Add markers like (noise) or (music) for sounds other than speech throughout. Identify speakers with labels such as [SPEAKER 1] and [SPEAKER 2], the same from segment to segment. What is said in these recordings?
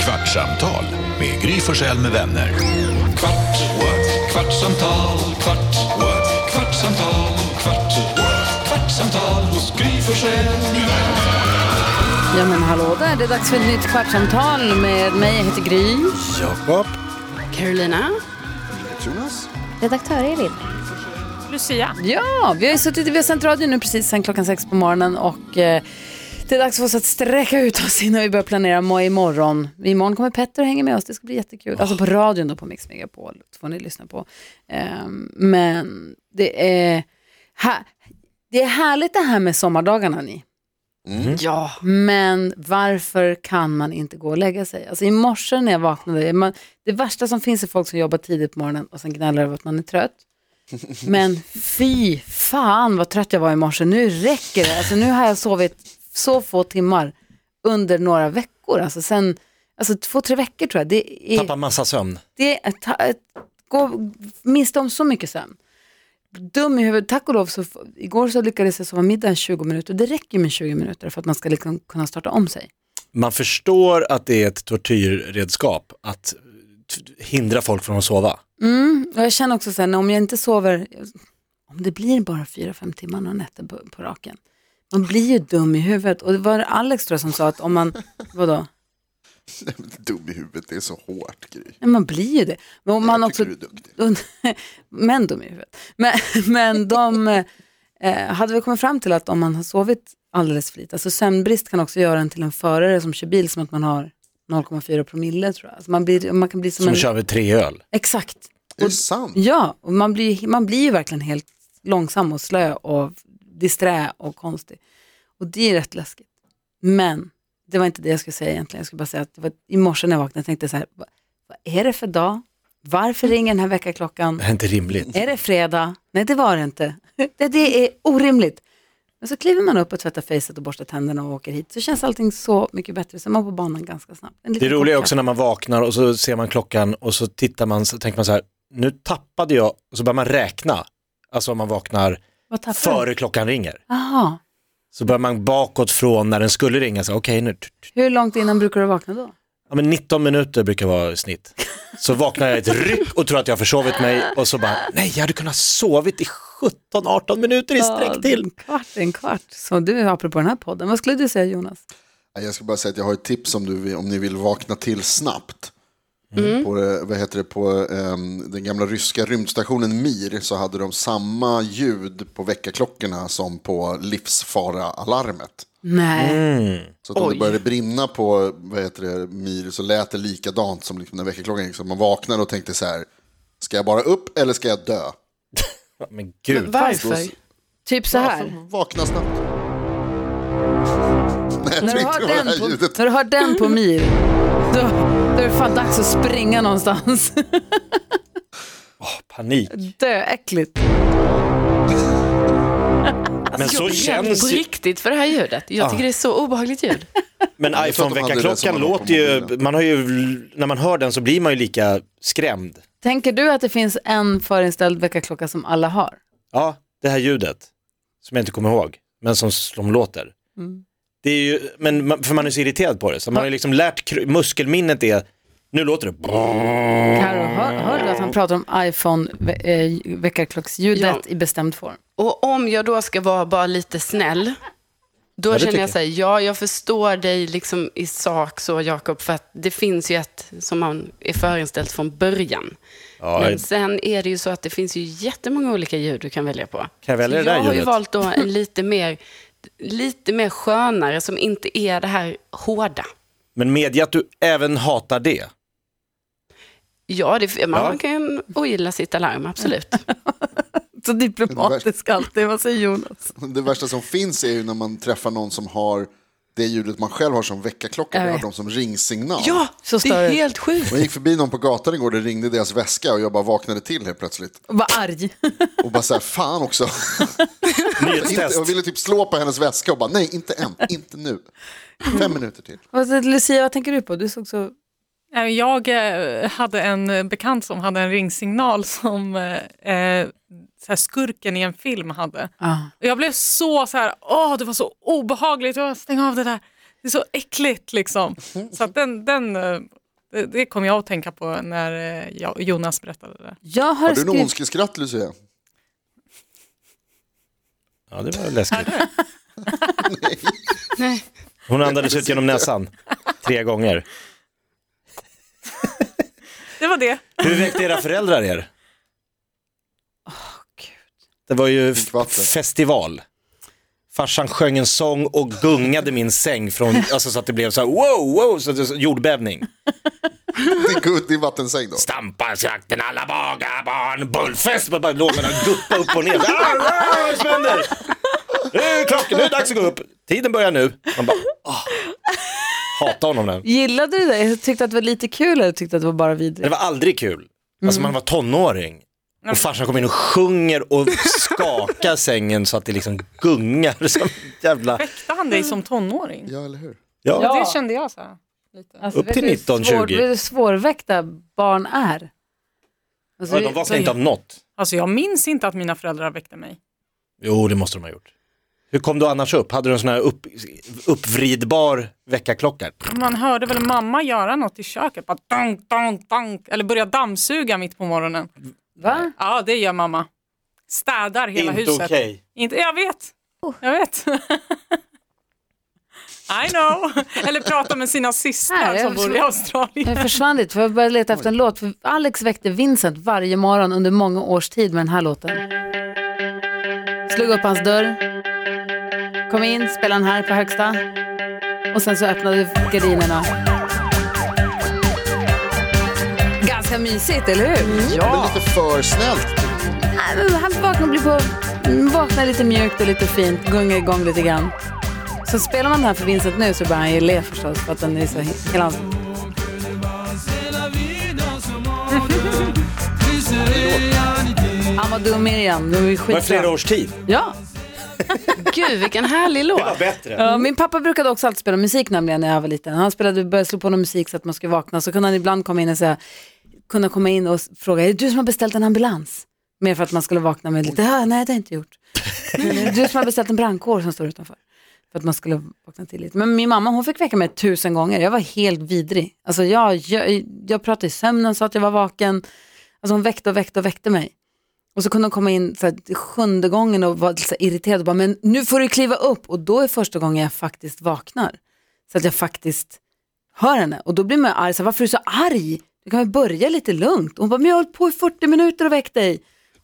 [SPEAKER 1] Kvartsamtal med Gry Forssell med vänner.
[SPEAKER 2] Kvart, what? kvartsamtal, kvart, what? kvartsamtal, kvart, what? kvartsamtal hos Gry Forssell med vänner.
[SPEAKER 3] Ja men hallå där, det är dags för ett nytt kvartsamtal med mig, jag heter Gry.
[SPEAKER 4] Jakob.
[SPEAKER 3] Carolina.
[SPEAKER 5] Redaktör Elin.
[SPEAKER 3] Ja, vi har ju suttit, vi har sänt radio nu precis sedan klockan sex på morgonen och eh, det är dags för oss att sträcka ut oss innan vi börjar planera må- imorgon. Imorgon kommer Petter och hänger med oss, det ska bli jättekul. Alltså på radion då på Mix Megapol, det får ni lyssna på. Ehm, men det är, ha, det är härligt det här med sommardagarna ni. Ja, men varför kan man inte gå och lägga sig? Alltså i morse när jag vaknade, man, det värsta som finns är folk som jobbar tidigt på morgonen och sen gnäller över att man är trött. Men fy fan vad trött jag var i morse. Nu räcker det. Alltså, nu har jag sovit så få timmar under några veckor. Alltså, sen, alltså två, tre veckor tror jag. Det är,
[SPEAKER 6] Tappar massa sömn.
[SPEAKER 3] det är, ta, ett, gå miste om så mycket sömn. Dum i huvudet. Tack och lov, så, f- igår så lyckades jag sova middagen 20 minuter. Det räcker med 20 minuter för att man ska liksom kunna starta om sig.
[SPEAKER 6] Man förstår att det är ett tortyrredskap att t- hindra folk från att sova.
[SPEAKER 3] Mm, Och jag känner också sen om jag inte sover, om det blir bara fyra, fem timmar några nätter på, på raken, man blir ju dum i huvudet. Och det var Alex tror jag som sa att om man, vadå?
[SPEAKER 4] Dum i huvudet, det är så hårt Gry.
[SPEAKER 3] Nej, man blir ju det. Men om man
[SPEAKER 4] Jag
[SPEAKER 3] också...
[SPEAKER 4] tycker du är duktig.
[SPEAKER 3] (laughs) men dum i huvudet. Men, men de eh, hade vi kommit fram till att om man har sovit alldeles för lite, alltså sömnbrist kan också göra en till en förare som kör bil som att man har 0,4 promille tror jag. Alltså man, blir, man kan bli som,
[SPEAKER 6] Som
[SPEAKER 3] en...
[SPEAKER 6] kör över tre öl.
[SPEAKER 3] Exakt.
[SPEAKER 4] Är det sant?
[SPEAKER 3] Ja, och man blir, man blir ju verkligen helt långsam och slö och disträ och konstig. Och det är rätt läskigt. Men det var inte det jag skulle säga egentligen. Jag skulle bara säga att det var i morse när jag vaknade tänkte jag så här, "Va- vad är det för dag? Varför ringer den här väckarklockan?
[SPEAKER 6] Det är inte rimligt.
[SPEAKER 3] Är det fredag? Nej, det var det inte. (laughs) Det, det är orimligt. Men så kliver man upp och tvättar facet och borstar tänderna och åker hit. Så känns allting så mycket bättre. Så är man på banan ganska snabbt. En
[SPEAKER 6] Det
[SPEAKER 3] liten
[SPEAKER 6] roliga är
[SPEAKER 3] kort
[SPEAKER 6] också när man vaknar och så ser man klockan och så tittar man så tänker man så här, nu tappade jag, och så börjar man räkna. Alltså om man vaknar
[SPEAKER 3] Vad tappar du?
[SPEAKER 6] före klockan ringer.
[SPEAKER 3] Jaha.
[SPEAKER 6] Så börjar man bakåt från när den skulle ringa. Så, okay, nu.
[SPEAKER 3] Hur långt innan brukar du vakna då?
[SPEAKER 6] Ja, men 19 minuter brukar vara i snitt. Så vaknar jag i ett ryck och tror att jag har försovit mig och så bara, nej jag hade kunnat ha sovit i 17-18 minuter i sträck till.
[SPEAKER 3] En kvart, en kvart. Så du, apropå den här podden, vad skulle du säga Jonas?
[SPEAKER 4] Nej, Jag ska bara säga att jag har ett tips om, du, vill- om ni vill vakna till snabbt. På, eh, vad heter det, på ehm, den gamla ryska rymdstationen Mir så hade de samma ljud på väckarklockorna som på livsfara-alarmet.
[SPEAKER 3] Nej.
[SPEAKER 6] Mm.
[SPEAKER 4] Så att om det började brinna på vad heter det, Mir så lät det likadant som liksom när väckarklockan gick. Så man vaknade och tänkte så här, ska jag bara upp eller ska jag dö?
[SPEAKER 6] Men gud.
[SPEAKER 4] Varför?
[SPEAKER 3] Typ så här.
[SPEAKER 4] Vakna snabbt. Nej, jag
[SPEAKER 3] När du,
[SPEAKER 4] tror inte
[SPEAKER 3] hör den på,
[SPEAKER 4] det var det här ljudet.
[SPEAKER 3] när du hör den på mil, då, då är det fan dags att springa någonstans. (laughs)
[SPEAKER 6] Panik.
[SPEAKER 7] Alltså,
[SPEAKER 3] Döäckligt.
[SPEAKER 6] Men så
[SPEAKER 7] jag blir
[SPEAKER 6] känns
[SPEAKER 7] på
[SPEAKER 6] ju,
[SPEAKER 7] riktigt för det här ljudet. Jag tycker det är så obehagligt ljud.
[SPEAKER 6] men
[SPEAKER 4] Jag tror att de hade det som
[SPEAKER 6] iPhone-väckarklockan
[SPEAKER 4] man har på
[SPEAKER 6] låter ju,
[SPEAKER 4] mobilen.
[SPEAKER 6] man har ju, när man hör den så blir man ju lika skrämd.
[SPEAKER 3] Tänker du att det finns en förinställd väckarklocka som alla har?
[SPEAKER 6] Ja, det här ljudet, som jag inte kommer ihåg, men som, som låter.
[SPEAKER 7] Mm.
[SPEAKER 6] Det är ju, men man, för man är så irriterad på det, så man har ju liksom lärt, kr- muskelminnet är, nu låter det,
[SPEAKER 3] Karo, hör, hör du att han pratar om iPhone-väckarklocksljudet
[SPEAKER 7] Ja.
[SPEAKER 3] i bestämd form?
[SPEAKER 7] Och om jag då ska vara bara lite snäll, då
[SPEAKER 6] det
[SPEAKER 7] känner
[SPEAKER 6] tycker
[SPEAKER 7] jag så här, ja, jag förstår dig liksom i sak så, Jakob, för att det finns ju ett som man är förinställt från början.
[SPEAKER 6] Ja,
[SPEAKER 7] Men sen är det ju så att det finns ju jättemånga olika ljud du kan välja på.
[SPEAKER 6] Kan jag välja
[SPEAKER 7] så
[SPEAKER 6] det där
[SPEAKER 7] jag har ju
[SPEAKER 6] ljudet?
[SPEAKER 7] valt då en lite mer, lite mer skönare som inte är det här hårda.
[SPEAKER 6] men medge att du även hatar det.
[SPEAKER 7] Ja, det, man,
[SPEAKER 6] Ja.
[SPEAKER 7] man kan ogilla sitt alarm, absolut.
[SPEAKER 3] Så diplomatisk alltid, vad säger Jonas?
[SPEAKER 4] Det värsta som finns är ju när man träffar någon som har det ljudet man själv har som väckarklocka,
[SPEAKER 3] Jag
[SPEAKER 4] det har
[SPEAKER 3] vet.
[SPEAKER 4] de som ringsignal.
[SPEAKER 7] Ja,
[SPEAKER 3] Så
[SPEAKER 7] det
[SPEAKER 3] stör-
[SPEAKER 7] är helt sjukt.
[SPEAKER 4] Och jag gick förbi någon på gatan igår, det ringde i deras väska och jag bara vaknade till helt plötsligt.
[SPEAKER 3] Vad arg.
[SPEAKER 4] Och bara så här, fan också. inte,
[SPEAKER 6] Nyhetstest.
[SPEAKER 4] jag ville typ slå på hennes väska och bara, nej, inte än, inte nu. Fem minuter till.
[SPEAKER 3] (laughs) Vad- Lucia, vad tänker du på? Du såg så...
[SPEAKER 8] Nej, Jag eh, hade en eh, bekant som hade en ringsignal som eh, eh, så här skurken i en film hade.
[SPEAKER 3] Ah.
[SPEAKER 8] Och Jag blev så så här, åh det var så obehagligt, jag stäng av det där, det är så äckligt liksom. Så att den, den eh, Det, det kom jag att tänka på när eh, jag, Jonas berättade det.
[SPEAKER 3] Jag har,
[SPEAKER 4] Har du någon
[SPEAKER 3] skrivit...
[SPEAKER 4] ondskeskratt Lucia?
[SPEAKER 6] Ja, det var läskigt. Hon andades ut genom näsan tre gånger.
[SPEAKER 8] Det var det.
[SPEAKER 6] Hur väckte era föräldrar er? Det var ju f-
[SPEAKER 4] vatten.
[SPEAKER 6] festival. Farsan sjöng en sång och gungade min säng från, alltså så att det blev så här wow, wow, så det, så- jordbävning.
[SPEAKER 4] Det är gud, det är vattensäng då.
[SPEAKER 6] Stampa slakten alla baga barn, bullfest. Bara bara låg man och guppade upp och ner. Ah, ah, vad som händer? Nu är klockan, nu är det dags att gå upp. Tiden börjar nu. Man bara, ah. Hatar honom nu.
[SPEAKER 3] Gillade du det? Jag tyckte att det var lite kul eller tyckte att det var bara
[SPEAKER 6] Men
[SPEAKER 3] vidrigt?
[SPEAKER 6] det var aldrig kul. Alltså man var tonåring. Och farsan kom in och sjunger och skakar sängen så att det liksom gungar som jävla... alltså,
[SPEAKER 8] Väckte han dig som tonåring?
[SPEAKER 4] Ja, eller hur?
[SPEAKER 6] Ja.
[SPEAKER 8] Det kände jag så här. Lite.
[SPEAKER 3] Alltså,
[SPEAKER 6] upp
[SPEAKER 3] vet
[SPEAKER 6] till
[SPEAKER 3] du hur
[SPEAKER 6] 19,
[SPEAKER 3] svår-
[SPEAKER 6] 20.
[SPEAKER 3] Hur svårväckta barn är. Alltså,
[SPEAKER 6] De vaknade inte av något.
[SPEAKER 8] Alltså jag minns inte att mina föräldrar väckte mig.
[SPEAKER 6] Jo, det måste de ha gjort. Hur kom du annars upp? Hade du en sån här upp, uppvridbar väckarklocka?
[SPEAKER 8] Man hörde väl mamma göra något i köket, bara dunk, dunk, dunk, eller börja dammsuga mitt på morgonen.
[SPEAKER 3] Va?
[SPEAKER 8] Ja, det gör mamma. Städar hela
[SPEAKER 6] Inte
[SPEAKER 8] huset.
[SPEAKER 6] okej.
[SPEAKER 8] Inte Jag vet. Jag vet. (laughs) I know. Eller prata med sina systrar
[SPEAKER 3] Nej,
[SPEAKER 8] som
[SPEAKER 3] jag-
[SPEAKER 8] bor i Australien.
[SPEAKER 3] Jag försvann lite för jag började leta efter en låt. För Alex väckte Vincent varje morgon under många års tid med den här låten. Slog upp hans dörr, kom in, spelade den här på högsta och sen så öppnade gardinerna. Ganska mysigt, eller hur?
[SPEAKER 4] Det är lite för snällt.
[SPEAKER 3] Nej, men Han vaknar, Eh, blir på, vaknar lite mjukt och lite fint, gungar igång lite grann. Så spelar man den här för Vincent nu så börjar han ju le förstås för att den är så hela hans... (laughs) Han var dum igen, de är ju
[SPEAKER 6] Det var flera
[SPEAKER 3] skitbra.
[SPEAKER 6] års tid.
[SPEAKER 3] Ja.
[SPEAKER 7] Gud, vilken härlig
[SPEAKER 6] Det var
[SPEAKER 7] låt.
[SPEAKER 6] bättre.
[SPEAKER 3] ja, min pappa brukade också alltid spela musik nämligen när jag var liten. Han spelade, började slå på någon musik så att man skulle vakna. Så kunde han ibland komma in och säga, kunna komma in och s- fråga, är det du som har beställt en ambulans? Mer för att man skulle vakna med lite, "Ah, nej det har jag inte gjort. Men är det du som har beställt en brandkår som står utanför. För att man skulle vakna till lite. Men min mamma hon fick väcka mig tusen gånger. Jag var helt vidrig. Alltså jag, jag, jag pratade i sömnen, sa att jag var vaken. Alltså hon väckte och väckte och väckte mig. Och så kunde hon komma in så här, sjunde gången och var så här, irriterad och bara, men nu får du kliva upp. Och då är första gången jag faktiskt vaknar. Så att jag faktiskt hör henne. Och då blir man arg, så här, varför är du så arg? Du kan väl börja lite lugnt. Och hon bara, men jag har hållit på i 40 minuter och väckt dig.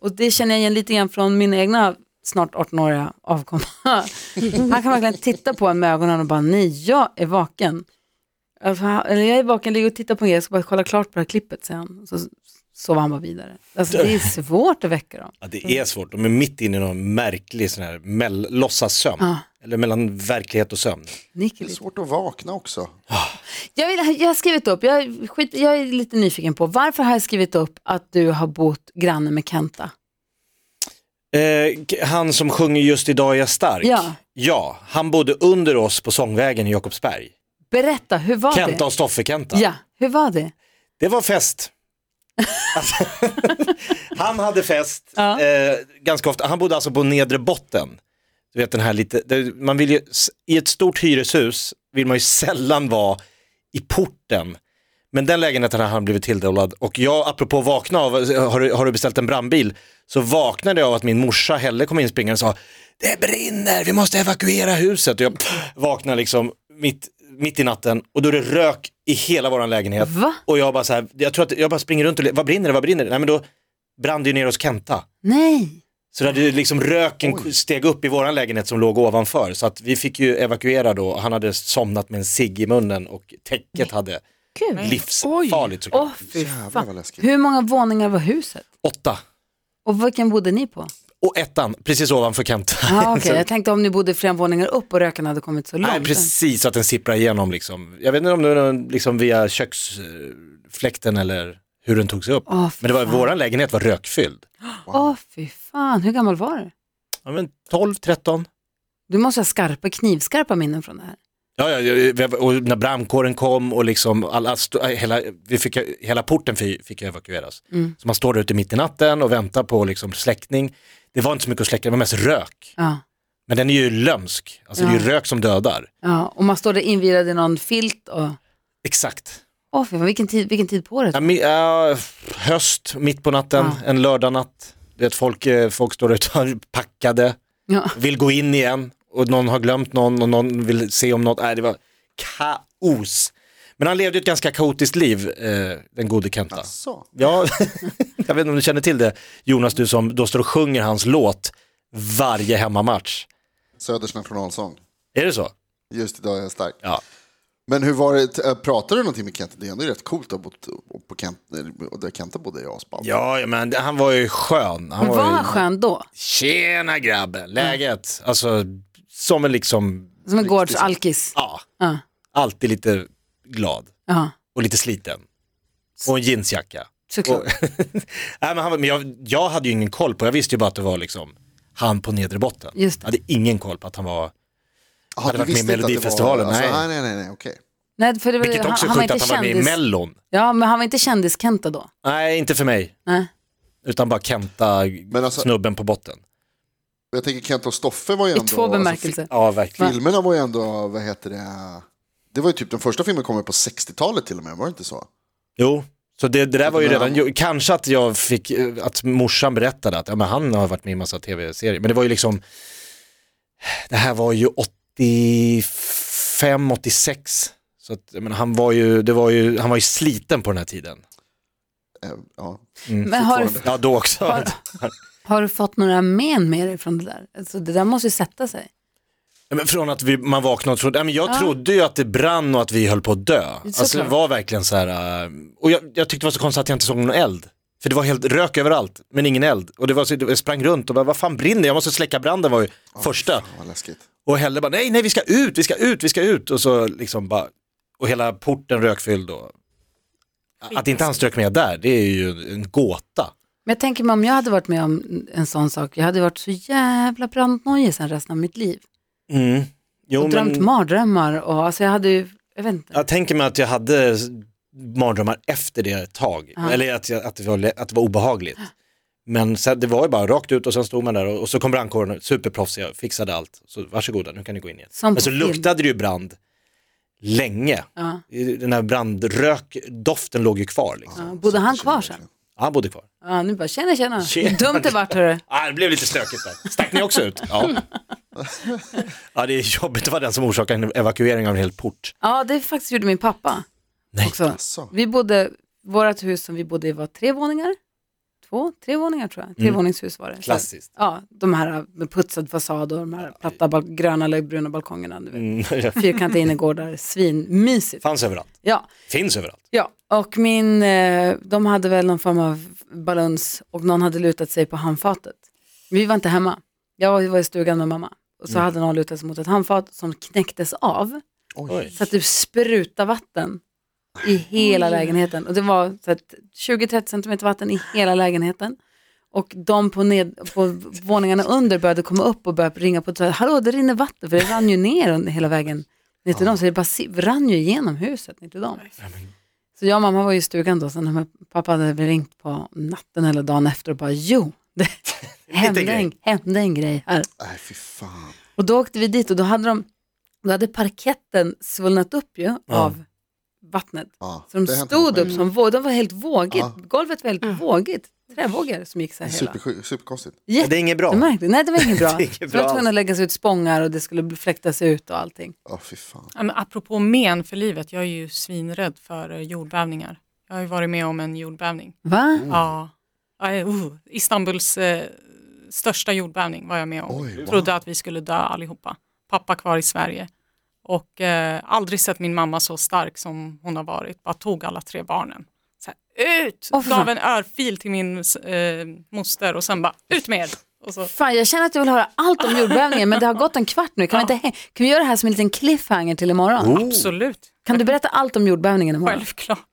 [SPEAKER 3] Och det känner jag igen lite grann från min egna snart 18-åriga avkomma. (laughs) Han kan verkligen titta på en med ögonen och bara, nej, jag är vaken. Alltså, han- Eller jag är vaken, ligger och tittar på en grej, jag ska bara kolla klart på det här klippet, säger han. Så sover han bara vidare. Alltså
[SPEAKER 6] (laughs)
[SPEAKER 3] det är svårt att väcka dem.
[SPEAKER 6] Ja, det är svårt. De är mitt inne i någon märklig sån här mell- låtsassömn. Eller mellan verklighet och sömn.
[SPEAKER 3] Nick är
[SPEAKER 4] Det är
[SPEAKER 3] lite-
[SPEAKER 4] svårt att vakna också.
[SPEAKER 3] Jag, vill, jag har skrivit upp, jag, skit, jag är lite nyfiken på, varför har jag skrivit upp att du har bott granne med Kenta?
[SPEAKER 6] Eh, k- han som sjunger just idag är jag stark.
[SPEAKER 3] Ja.
[SPEAKER 6] Ja, han bodde under oss på Sångvägen i Jakobsberg.
[SPEAKER 3] Berätta, hur var
[SPEAKER 6] Kenta
[SPEAKER 3] det?
[SPEAKER 6] och Stoffe-Kenta.
[SPEAKER 3] Ja, hur var det?
[SPEAKER 6] Det var
[SPEAKER 3] (laughs)
[SPEAKER 6] fest. Alltså, han hade fest eh, ganska ofta. Han bodde alltså på nedre botten. Du vet den här lite, det- man vill ju, s- i ett stort hyreshus vill man ju sällan vara i porten. Men den lägenheten har han blivit tilldelad och jag, apropå vakna av, har du, har du beställt en brandbil? Så vaknade jag av att min morsa Helle kom inspringande och sa, det brinner, vi måste evakuera huset. Och jag vaknade liksom mitt, mitt i natten och då är det rök i hela vår lägenhet.
[SPEAKER 3] Va?
[SPEAKER 6] Och jag bara så här, jag tror att jag bara springer runt och le- vad brinner det, vad brinner det? Nej men då brann det ju ner hos Kenta.
[SPEAKER 3] Nej,
[SPEAKER 6] Så det hade ju liksom röken steg upp i våran lägenhet som låg ovanför. Så att vi fick ju evakuera då, han hade somnat med en cigg i munnen och täcket hade
[SPEAKER 3] gud.
[SPEAKER 6] livsfarligt såklart.
[SPEAKER 3] Åh fy
[SPEAKER 4] Jävlar vad
[SPEAKER 3] fan.
[SPEAKER 4] läskigt.
[SPEAKER 3] Hur många våningar var huset?
[SPEAKER 6] Åtta.
[SPEAKER 3] Och vilken bodde ni
[SPEAKER 6] (laughs)
[SPEAKER 3] på?
[SPEAKER 6] Och ettan, precis ovanför Kenta.
[SPEAKER 3] Ah,
[SPEAKER 6] (laughs)
[SPEAKER 3] okej. Jag tänkte om ni bodde flera våningar upp och röken hade kommit så långt.
[SPEAKER 6] Nej, precis, så att den sipprar igenom liksom. Jag vet inte om det var någon, liksom via köksfläkten eller hur den tog sig upp.
[SPEAKER 3] Åh, fy
[SPEAKER 6] Men det var,
[SPEAKER 3] fan.
[SPEAKER 6] våran lägenhet var rökfylld.
[SPEAKER 3] Åh fy fan, hur gammal var du?
[SPEAKER 6] Ja men 12, 13.
[SPEAKER 3] Du måste ha skarpa, knivskarpa minnen från det här.
[SPEAKER 6] Ja, ja, ja, vi- och när brandkåren kom och liksom alla, st- hela, vi fick, hela porten fi- fick evakueras. Så man står där ute mitt i natten och väntar på liksom släckning. Det var inte så mycket att släcka, det var mest rök.
[SPEAKER 3] Ja.
[SPEAKER 6] Men den är ju lömsk, alltså det är ju rök som dödar.
[SPEAKER 3] Ja, och man står där invirad i någon filt och...
[SPEAKER 6] Exakt.
[SPEAKER 3] Åh, fy fan, vilken tid, vilken tid på året.
[SPEAKER 6] Ja, mi- ja, höst, mitt på natten, en lördagnatt. Du vet, folk, eh, folk står utanför packade,
[SPEAKER 3] Ja.
[SPEAKER 6] vill gå in igen och någon har glömt någon och någon vill se om något. Nej, det var kaos. Men han levde ju ett ganska kaotiskt liv, eh, den gode Kenta.
[SPEAKER 4] Alltså.
[SPEAKER 6] Ja, (laughs) jag vet inte om du känner till det, Jonas, du som då står och sjunger hans låt varje hemmamatch.
[SPEAKER 4] Söders nationalsång.
[SPEAKER 6] Är det så?
[SPEAKER 4] Just idag är jag stark.
[SPEAKER 6] Ja.
[SPEAKER 4] Men hur var det, eh, pratade du någonting med Kent? Det är ändå rätt coolt att ha bott på Kent, eh, där Kenta bodde i Aspa.
[SPEAKER 6] Ja, ja, men han var ju skön. Han
[SPEAKER 3] Var
[SPEAKER 6] ju...
[SPEAKER 3] han skön då?
[SPEAKER 6] Tjena grabben, läget? Alltså, som en liksom,
[SPEAKER 3] Som en gårdsalkis?
[SPEAKER 6] ja,
[SPEAKER 3] Ja.
[SPEAKER 6] alltid lite glad
[SPEAKER 3] Ja,
[SPEAKER 6] och lite sliten. Och en jeansjacka. Och,
[SPEAKER 3] såklart.
[SPEAKER 6] (laughs) nej, men han, var- men jag, jag hade ju ingen koll på, jag visste ju bara att det var liksom han på nedre botten.
[SPEAKER 3] Just det.
[SPEAKER 6] Jag hade ingen koll på att han var,
[SPEAKER 4] Ah,
[SPEAKER 6] hade
[SPEAKER 4] du
[SPEAKER 6] varit med i
[SPEAKER 4] visste inte att det
[SPEAKER 6] Melodifestivalen,
[SPEAKER 4] var- Alltså,
[SPEAKER 6] nej.
[SPEAKER 4] nej, nej, nej, nej, okej.
[SPEAKER 3] Nej, för det var,
[SPEAKER 6] vilket
[SPEAKER 3] han,
[SPEAKER 6] också är
[SPEAKER 3] han var
[SPEAKER 6] sjukt
[SPEAKER 3] inte
[SPEAKER 6] att han var med i
[SPEAKER 3] kändis.
[SPEAKER 6] mellon.
[SPEAKER 3] Ja, men han var inte kändis-Kenta då?
[SPEAKER 6] Nej, inte för mig,
[SPEAKER 3] Nej.
[SPEAKER 6] utan bara Kenta,
[SPEAKER 4] alltså-
[SPEAKER 6] snubben på botten.
[SPEAKER 4] Jag tänker Kent och Stoffe var ju
[SPEAKER 3] I
[SPEAKER 4] ändå...
[SPEAKER 6] alltså,
[SPEAKER 3] två bemärkelser.
[SPEAKER 6] Ja, verkligen.
[SPEAKER 4] Alltså, filmerna var ju ändå, vad heter det? Det var ju typ, den första filmen kom ju på 60-talet till och med, var det inte så?
[SPEAKER 6] Jo, så det, det där var ju
[SPEAKER 4] Men
[SPEAKER 6] redan,
[SPEAKER 4] han-
[SPEAKER 6] jo, kanske att jag fick, eh, att morsan berättade att ja, men han har varit med i massa tv-serier, men det var ju liksom, det här var ju 85, 86, så att, men han var ju, det var ju, han var ju sliten på den här tiden.
[SPEAKER 4] Eh, ja.
[SPEAKER 3] Men har, du-
[SPEAKER 6] Ja, då också.
[SPEAKER 3] Har- har du fått några men med dig från det där? Alltså, det där måste ju sätta sig.
[SPEAKER 6] Men från att vi, man vaknade och trodde, ja, men jag trodde ju att det brann och att vi höll på att dö. Alltså det
[SPEAKER 3] klart.
[SPEAKER 6] var verkligen så här, eh, och jag, jag tyckte det var så konstigt att jag inte såg någon eld. För det var helt rök överallt, men ingen eld. Och det var så, jag sprang runt och bara, vad fan brinner? Jag måste släcka branden var ju första.
[SPEAKER 4] Fan, vad läskigt.
[SPEAKER 6] Och Helle bara, nej, nej, vi ska ut, vi ska ut, vi ska ut. Och så liksom bara, och hela porten rökfylld. Och... Att inte han strök med där, det är ju en gåta.
[SPEAKER 3] Men jag tänker mig om jag hade varit med om en sån sak, jag hade varit så jävla brandnojig sen resten av mitt liv.
[SPEAKER 6] Mm. Jo,
[SPEAKER 3] Och drömt mardrömmar och alltså jag hade ju, jag vet inte.
[SPEAKER 6] Jag tänker mig att jag hade s- mardrömmar efter det ett tag, eller att, jag, att, det var, le- att det var obehagligt. Men sen, det var ju bara rakt ut och sen stod man där och, och så kom brandkåren, superproffsiga, fixade allt. Så varsågoda, nu kan ni gå in igen.
[SPEAKER 3] Som
[SPEAKER 6] Men
[SPEAKER 3] på
[SPEAKER 6] så
[SPEAKER 3] film.
[SPEAKER 6] luktade det ju brand länge.
[SPEAKER 3] Ja.
[SPEAKER 6] I- Den här brandrökdoften låg ju kvar. Liksom.
[SPEAKER 3] Ja, bodde han kvar sen?
[SPEAKER 6] Ja, Han bodde kvar.
[SPEAKER 3] Ja, nu bara tjena tjena.
[SPEAKER 6] Tjena.
[SPEAKER 3] Dumt det vart hörru.
[SPEAKER 6] Ah, det blev lite stökigt där. Stack ni också ut?
[SPEAKER 3] (laughs)
[SPEAKER 6] Ja. ja, det är jobbigt att vara den som orsakar en evakuering av en hel port.
[SPEAKER 3] Ja, det faktiskt gjorde min pappa
[SPEAKER 6] Nej.
[SPEAKER 3] också.
[SPEAKER 4] Alltså.
[SPEAKER 3] Vi bodde, vårt hus som vi bodde i var tre våningar. Två, tre våningar tror
[SPEAKER 6] Mm.
[SPEAKER 3] jag. Trevåningshus var det.
[SPEAKER 6] Klassiskt.
[SPEAKER 3] Ja, de här med putsad fasad och de här platta bal- gröna eller bruna balkongerna. Du vet.
[SPEAKER 6] Mm, (laughs)
[SPEAKER 3] Fyrkantiga innergårdar, (laughs) svinmysigt.
[SPEAKER 6] Fanns överallt,
[SPEAKER 3] Ja,
[SPEAKER 6] finns överallt.
[SPEAKER 3] ja, och min, eh, de hade väl någon form av balans och någon hade lutat sig på handfatet. Vi var inte hemma. Jag var- var i stugan med mamma och så
[SPEAKER 6] Mm.
[SPEAKER 3] hade någon lutat sig mot ett handfat som knäcktes av
[SPEAKER 6] Oj.
[SPEAKER 3] så att det sprutade vatten i hela lägenheten. Och det var så att 20-30 centimeter vatten i hela lägenheten. Och de på, ned, på våningarna under började komma upp och började ringa på dörren. Hallå, det rinner vatten, för det rann ju ner under hela vägen ner till dem. Så det bara si- rann ju igenom huset ner till dem. Så jag och mamma var ju i stugan då, sen när pappa hade väl ringt på natten eller dagen efter och bara jo, det hände, en,
[SPEAKER 6] grej.
[SPEAKER 3] hände en grej här.
[SPEAKER 4] Nej, fy fan.
[SPEAKER 3] Och då åkte vi dit och då hade, de, då hade parketten svullnat upp ju av vattnet.
[SPEAKER 4] Ja,
[SPEAKER 3] Så de
[SPEAKER 4] det har hänt
[SPEAKER 3] stod
[SPEAKER 4] mig.
[SPEAKER 3] upp som vågor, de var helt vågigt,
[SPEAKER 4] Ja.
[SPEAKER 3] golvet var helt vågigt, trävågor som gick så här hela.
[SPEAKER 4] Supersjuk- Superkonstigt.
[SPEAKER 6] Det är inget bra.
[SPEAKER 3] Jättemärkligt, nej det var
[SPEAKER 6] (laughs)
[SPEAKER 3] inget bra.
[SPEAKER 6] Det är inget
[SPEAKER 3] Så de var
[SPEAKER 6] bra
[SPEAKER 3] tvungna att lägga sig ut spångar och det skulle bli- fläktas ut och allting.
[SPEAKER 4] Ja, fy fan.
[SPEAKER 8] Ja, men apropå men för livet, jag är ju svinrädd för eh, jordbävningar. Jag har ju varit med om en jordbävning.
[SPEAKER 3] Va?
[SPEAKER 8] Ja. Ja, eh, Uh, Istanbuls eh, största jordbävning var jag med om.
[SPEAKER 4] Oj, wow.
[SPEAKER 8] Trodde att vi skulle dö allihopa. Pappa kvar i Sverige. Och eh, aldrig sett min mamma så stark som hon har varit. Bara tog alla tre barnen. Så här, ut!
[SPEAKER 3] Åh, för fan.
[SPEAKER 8] Gav en örfil till min eh, moster och sen bara ut med er. Och så,
[SPEAKER 3] Fan, jag känner att jag vill höra allt om jordbävningen men det har gått en kvart nu. Kan, vi, inte, hä- kan vi göra det här som en liten cliffhanger till imorgon?
[SPEAKER 6] Oh.
[SPEAKER 8] Absolut,
[SPEAKER 3] Kan du berätta allt om jordbävningen imorgon?
[SPEAKER 8] självklart.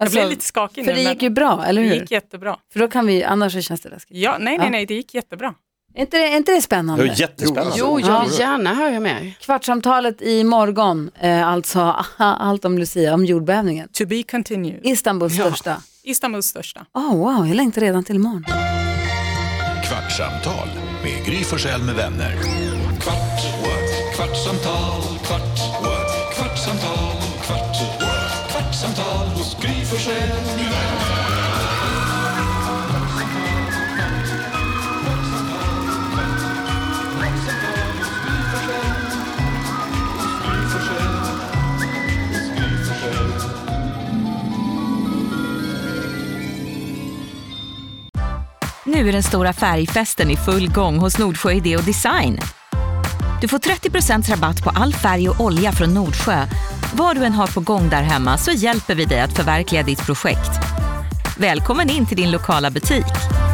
[SPEAKER 3] Alltså,
[SPEAKER 8] jag blev lite skakig
[SPEAKER 3] För
[SPEAKER 8] nu.
[SPEAKER 3] det
[SPEAKER 8] men
[SPEAKER 3] gick ju bra, eller
[SPEAKER 8] det
[SPEAKER 3] hur?
[SPEAKER 8] gick jättebra.
[SPEAKER 3] För då kan vi, annars så känns det läskigt.
[SPEAKER 8] Ja, nej, nej,
[SPEAKER 3] Ja.
[SPEAKER 8] nej, det gick jättebra.
[SPEAKER 3] Är inte det, är inte det
[SPEAKER 6] Det
[SPEAKER 3] spännande?
[SPEAKER 6] var jättespännande.
[SPEAKER 4] Jo, alltså,
[SPEAKER 7] Jo, jag
[SPEAKER 3] Ja.
[SPEAKER 7] vill gärna höra mer.
[SPEAKER 3] Kvartsamtalet i morgon, eh, alltså (laughs) aha, allt om Lucia, om jordbävningen.
[SPEAKER 8] To be continued.
[SPEAKER 3] Istanbuls största.
[SPEAKER 8] Istanbuls största.
[SPEAKER 3] Oh, wow, jag längtar redan till imorgon.
[SPEAKER 1] Kvartsamtal med Gry Forssell med vänner.
[SPEAKER 2] Kvart, what? kvartsamtal, kvart, what? kvartsamtal, kvart, what? kvartsamtal hos
[SPEAKER 5] Nu är den stora färgfesten i full gång hos Nordsjö Idé och Design. Du får 30 rabatt på all färg och olja från Nordsjö. Vad du än har på gång där hemma så hjälper vi dig att förverkliga ditt projekt. Välkommen in till din lokala butik.